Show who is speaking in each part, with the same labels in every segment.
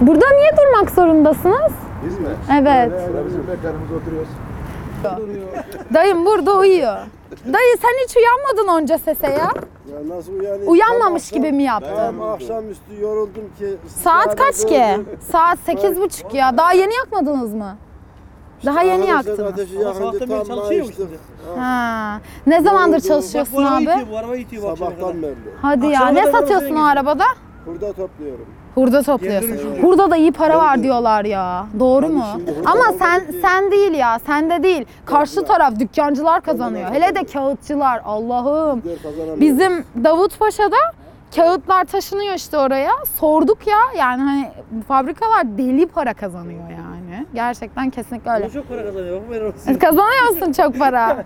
Speaker 1: Burada niye durmak zorundasınız?
Speaker 2: Biz mi?
Speaker 1: Evet.
Speaker 2: Öyle bizim mekanımız oturuyoruz.
Speaker 1: Dayım burada uyuyor. Dayı sen hiç uyanmadın onca sese ya.
Speaker 3: Ya nasıl uyanayım?
Speaker 1: Uyanmamış
Speaker 3: Tam akşam-
Speaker 1: gibi mi yaptın?
Speaker 3: Tam akşamüstü yoruldum ki.
Speaker 1: Saat kaç ki?
Speaker 3: sıcağına
Speaker 1: Saat sekiz buçuk ya. Daha yeni yakmadınız mı? Daha yeni
Speaker 3: Hanım sen
Speaker 1: yaktınız.
Speaker 3: Ateşi
Speaker 4: Ama
Speaker 3: yakınca
Speaker 4: sabahtan beri
Speaker 3: tam
Speaker 4: çalışıyor
Speaker 3: çalıştık.
Speaker 4: musun?
Speaker 1: Ha. Ne zamandır çalışıyorsun
Speaker 4: Bak bu araba
Speaker 1: abi?
Speaker 4: itiyor, bu araba itiyor bu akşama kadar.
Speaker 3: Sabahtan beri.
Speaker 1: Hadi ya.
Speaker 4: Akşama
Speaker 1: Ne
Speaker 4: kadar
Speaker 1: satıyorsun
Speaker 4: oraya
Speaker 1: o arabada?
Speaker 3: Burada topluyorum.
Speaker 1: Hurda topluyorsun.
Speaker 4: dönüşüm.
Speaker 1: Hurda da iyi para var diyorlar ya. Doğru mu?
Speaker 3: şimdi hurda
Speaker 1: Ama
Speaker 3: olmadı
Speaker 1: sen
Speaker 3: ki.
Speaker 1: sen değil ya. Sende değil. Karşı taraf dükkancılar kazanıyor. Hele de kağıtçılar. Allah'ım.
Speaker 3: Diğer kazanamıyorum.
Speaker 1: Bizim Davutpaşa'da kağıtlar taşınıyor işte oraya. Sorduk ya yani hani fabrikalar deli para kazanıyor yani. Gerçekten kesinlikle öyle.
Speaker 4: Bu çok para kazanıyor. Bak ben orası.
Speaker 1: Kazanıyorsun çok para.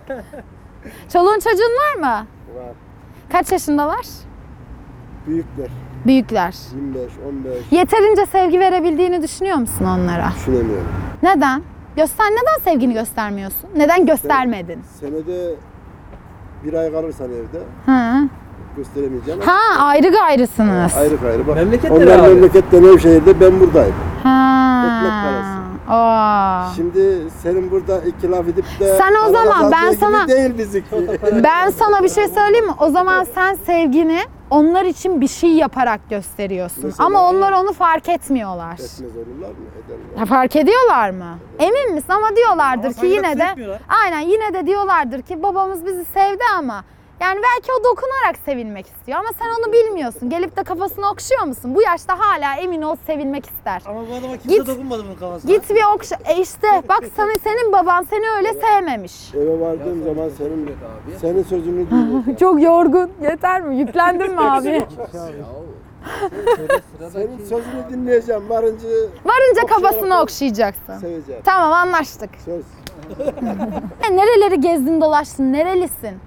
Speaker 1: Çoluğun çocuğun var mı?
Speaker 3: Var.
Speaker 1: Kaç yaşındalar?
Speaker 3: Büyükler.
Speaker 1: Büyükler.
Speaker 3: 25, 15.
Speaker 1: Yeterince sevgi verebildiğini düşünüyor musun onlara?
Speaker 3: Düşünemiyorum.
Speaker 1: Neden? Göster neden sevgini göstermiyorsun? Neden göstermedin?
Speaker 3: Senede bir ay kalırsan evde
Speaker 1: Ha.
Speaker 3: gösteremeyeceğim.
Speaker 1: Ha ayrı gayrısınız.
Speaker 3: Ayrı ayrı bak.
Speaker 4: Memleketler
Speaker 3: Onlar
Speaker 4: abi.
Speaker 3: memlekette Nevşehir'de ben buradayım. ekmek
Speaker 1: Ha.
Speaker 3: parası.
Speaker 1: Aa.
Speaker 3: Şimdi senin burada iki laf edip de...
Speaker 1: Sen o
Speaker 3: Allah
Speaker 1: zaman, ben
Speaker 3: razı olsun
Speaker 1: sana-
Speaker 3: gibi Değil bizimki.
Speaker 1: Ben sana bir şey söyleyeyim mi? O zaman sen sevgini onlar için bir şey yaparak gösteriyorsun.
Speaker 3: Mesela?
Speaker 1: Ama onlar onu fark etmiyorlar.
Speaker 3: Etmez olurlar mı? Ederler.
Speaker 1: Ya fark ediyorlar mı? Emin misin? Ama diyorlardır
Speaker 4: Ama
Speaker 1: ki yine
Speaker 4: saygısızlık
Speaker 1: de
Speaker 4: etmiyorlar.
Speaker 1: aynen yine de diyorlardır ki babamız bizi sevdi ama yani belki o dokunarak sevilmek istiyor ama sen onu bilmiyorsun. Gelip de kafasını okşuyor musun? Bu yaşta hala emin ol sevilmek ister.
Speaker 4: Ama bu adama kimse
Speaker 1: Git.
Speaker 4: dokunmadı bunun kafasına.
Speaker 1: Git bir okşa. E işte bak sana, senin baban seni öyle sevmemiş.
Speaker 3: Eve vardığım zaman senin senin sözünü dinleyeceğim.
Speaker 1: Çok yorgun. Yeter mi? Yüklendin mi abi?
Speaker 3: senin sözünü dinleyeceğim. Varınca
Speaker 1: Varınca kafasını
Speaker 3: Okşayarak-
Speaker 1: okşayacaksın.
Speaker 3: seveceğim.
Speaker 1: Tamam anlaştık.
Speaker 3: Söz.
Speaker 1: E, nereleri gezdin dolaştın? Nerelisin?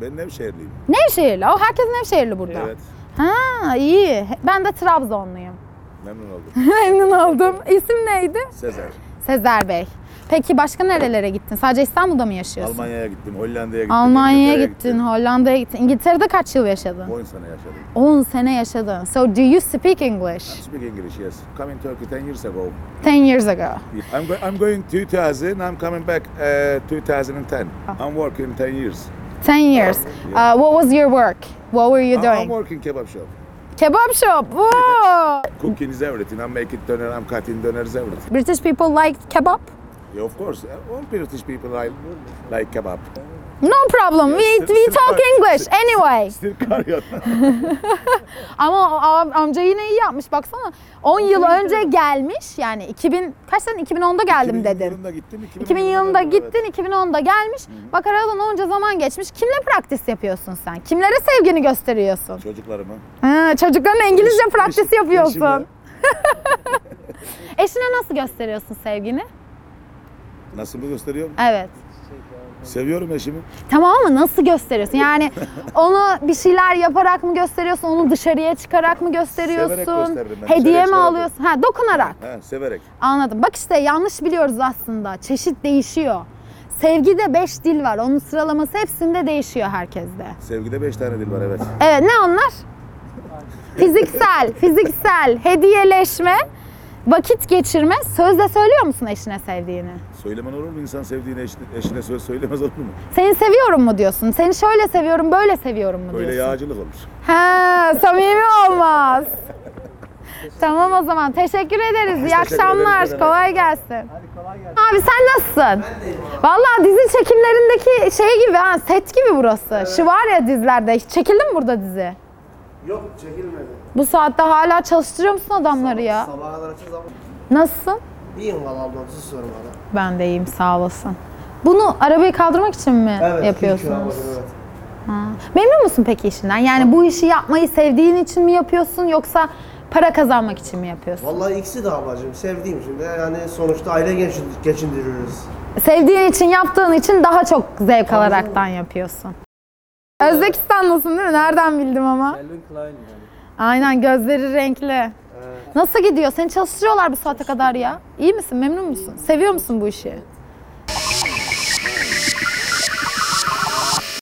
Speaker 2: Ben Nevşehirliyim.
Speaker 1: Nevşehirli. O herkes Nevşehirli burada.
Speaker 2: Evet.
Speaker 1: Ha iyi. Ben de Trabzonluyum.
Speaker 2: Memnun oldum.
Speaker 1: Memnun oldum. İsim neydi?
Speaker 2: Sezer.
Speaker 1: Sezer Bey. Peki başka nerelere gittin? Sadece İstanbul'da mı yaşıyorsun?
Speaker 2: Almanya'ya gittim, Hollanda'ya gittim.
Speaker 1: Almanya'ya
Speaker 2: İngiltere'ye
Speaker 1: gittin, Hollanda'ya gittin. İngiltere'de kaç yıl yaşadın?
Speaker 2: 10 sene yaşadım.
Speaker 1: 10 sene yaşadın. So do you speak English?
Speaker 2: Speak English, yes. Coming Turkey 10 years ago.
Speaker 1: 10 years ago.
Speaker 2: I'm, go- I'm going 2000, I'm coming back uh, 2010.
Speaker 1: Ah.
Speaker 2: I'm working 10 years.
Speaker 1: 10 years. Uh, what was your work? What were you
Speaker 2: I'm, I'm
Speaker 1: doing?
Speaker 2: working kebab shop.
Speaker 1: Kebab shop. Whoa!
Speaker 2: Cooking is everything. I'm making döner, I'm cutting döner is everything.
Speaker 1: British people like kebab?
Speaker 2: Yeah, of course, uh, all British people like, like kebab.
Speaker 1: No problem. We we talk English anyway.
Speaker 2: Still carry on.
Speaker 1: Ama o am- amca yine iyi yapmış baksana. 10 yıl önce gelmiş yani 2000 kaç sene 2010'da geldim
Speaker 2: 2000
Speaker 1: dedin.
Speaker 2: yılında gittim.
Speaker 1: 2000 yılında gittin 2010'da gelmiş. Bak aradan onca zaman geçmiş. Kimle praktis yapıyorsun sen? Kimlere sevgini gösteriyorsun?
Speaker 2: Çocuklarımı.
Speaker 1: Ha, çocukların İngilizce praktis yapıyorsun.
Speaker 2: eşimle.
Speaker 1: Eşine nasıl gösteriyorsun sevgini?
Speaker 2: Nasıl mı gösteriyorum?
Speaker 1: Evet.
Speaker 2: Seviyorum eşimi.
Speaker 1: Tamam ama nasıl gösteriyorsun? Yani onu bir şeyler yaparak mı gösteriyorsun? Onu dışarıya çıkarak mı gösteriyorsun?
Speaker 2: gösteririm ben.
Speaker 1: Hediye
Speaker 2: Severek
Speaker 1: mi
Speaker 2: şey
Speaker 1: alıyorsun? Ha, dokunarak.
Speaker 2: Ha, severek.
Speaker 1: Anladım. Bak işte yanlış biliyoruz aslında. Çeşit değişiyor. Sevgide 5 dil var. Onun sıralaması hepsinde değişiyor herkeste.
Speaker 2: Sevgide beş tane dil var evet.
Speaker 1: Evet ne onlar? fiziksel, fiziksel, hediyeleşme, vakit geçirme. Sözle söylüyor musun eşine sevdiğini?
Speaker 2: Söylemen olur mu? İnsan sevdiğine eşine, eşine söz söylemez olur mu?
Speaker 1: Seni seviyorum mu diyorsun? Seni şöyle seviyorum, böyle seviyorum mu diyorsun?
Speaker 2: Böyle yağcılık olur.
Speaker 1: Ha, samimi olmaz. tamam o zaman. Teşekkür ederiz. İyi
Speaker 2: teşekkür ederiz.
Speaker 1: akşamlar.
Speaker 2: Ne demek.
Speaker 1: Kolay gelsin. Abi sen nasılsın? Vallahi dizi çekimlerindeki şey gibi ha, set gibi burası. Şu var ya dizilerde. Hiç Çekildi mi burada dizi?
Speaker 5: Yok çekilmedi.
Speaker 1: Bu saatte hala çalıştırıyor musun adamları ya?
Speaker 5: Sabaha kadar açız ama
Speaker 1: Nasılsın?
Speaker 5: iyiyim valla ablam siz sorun bana.
Speaker 1: Ben de iyiyim sağ olasın. Bunu arabayı kaldırmak için mi yapıyorsunuz? Memnun musun peki işinden? Yani bu işi yapmayı sevdiğin için mi yapıyorsun yoksa para kazanmak için mi yapıyorsun?
Speaker 5: Vallahi ikisi de ablacığım sevdiğim şimdi yani sonuçta aile geçin- geçindiriyoruz.
Speaker 1: Sevdiğin için yaptığın için daha çok zevk alaraktan yapıyorsun. Özbekistanlısın değil mi? Nereden bildim ama? Aynen gözleri renkli. Nasıl gidiyor? Seni çalıştırıyorlar bu saate kadar ya. İyi misin? Memnun musun? Seviyor musun bu işi?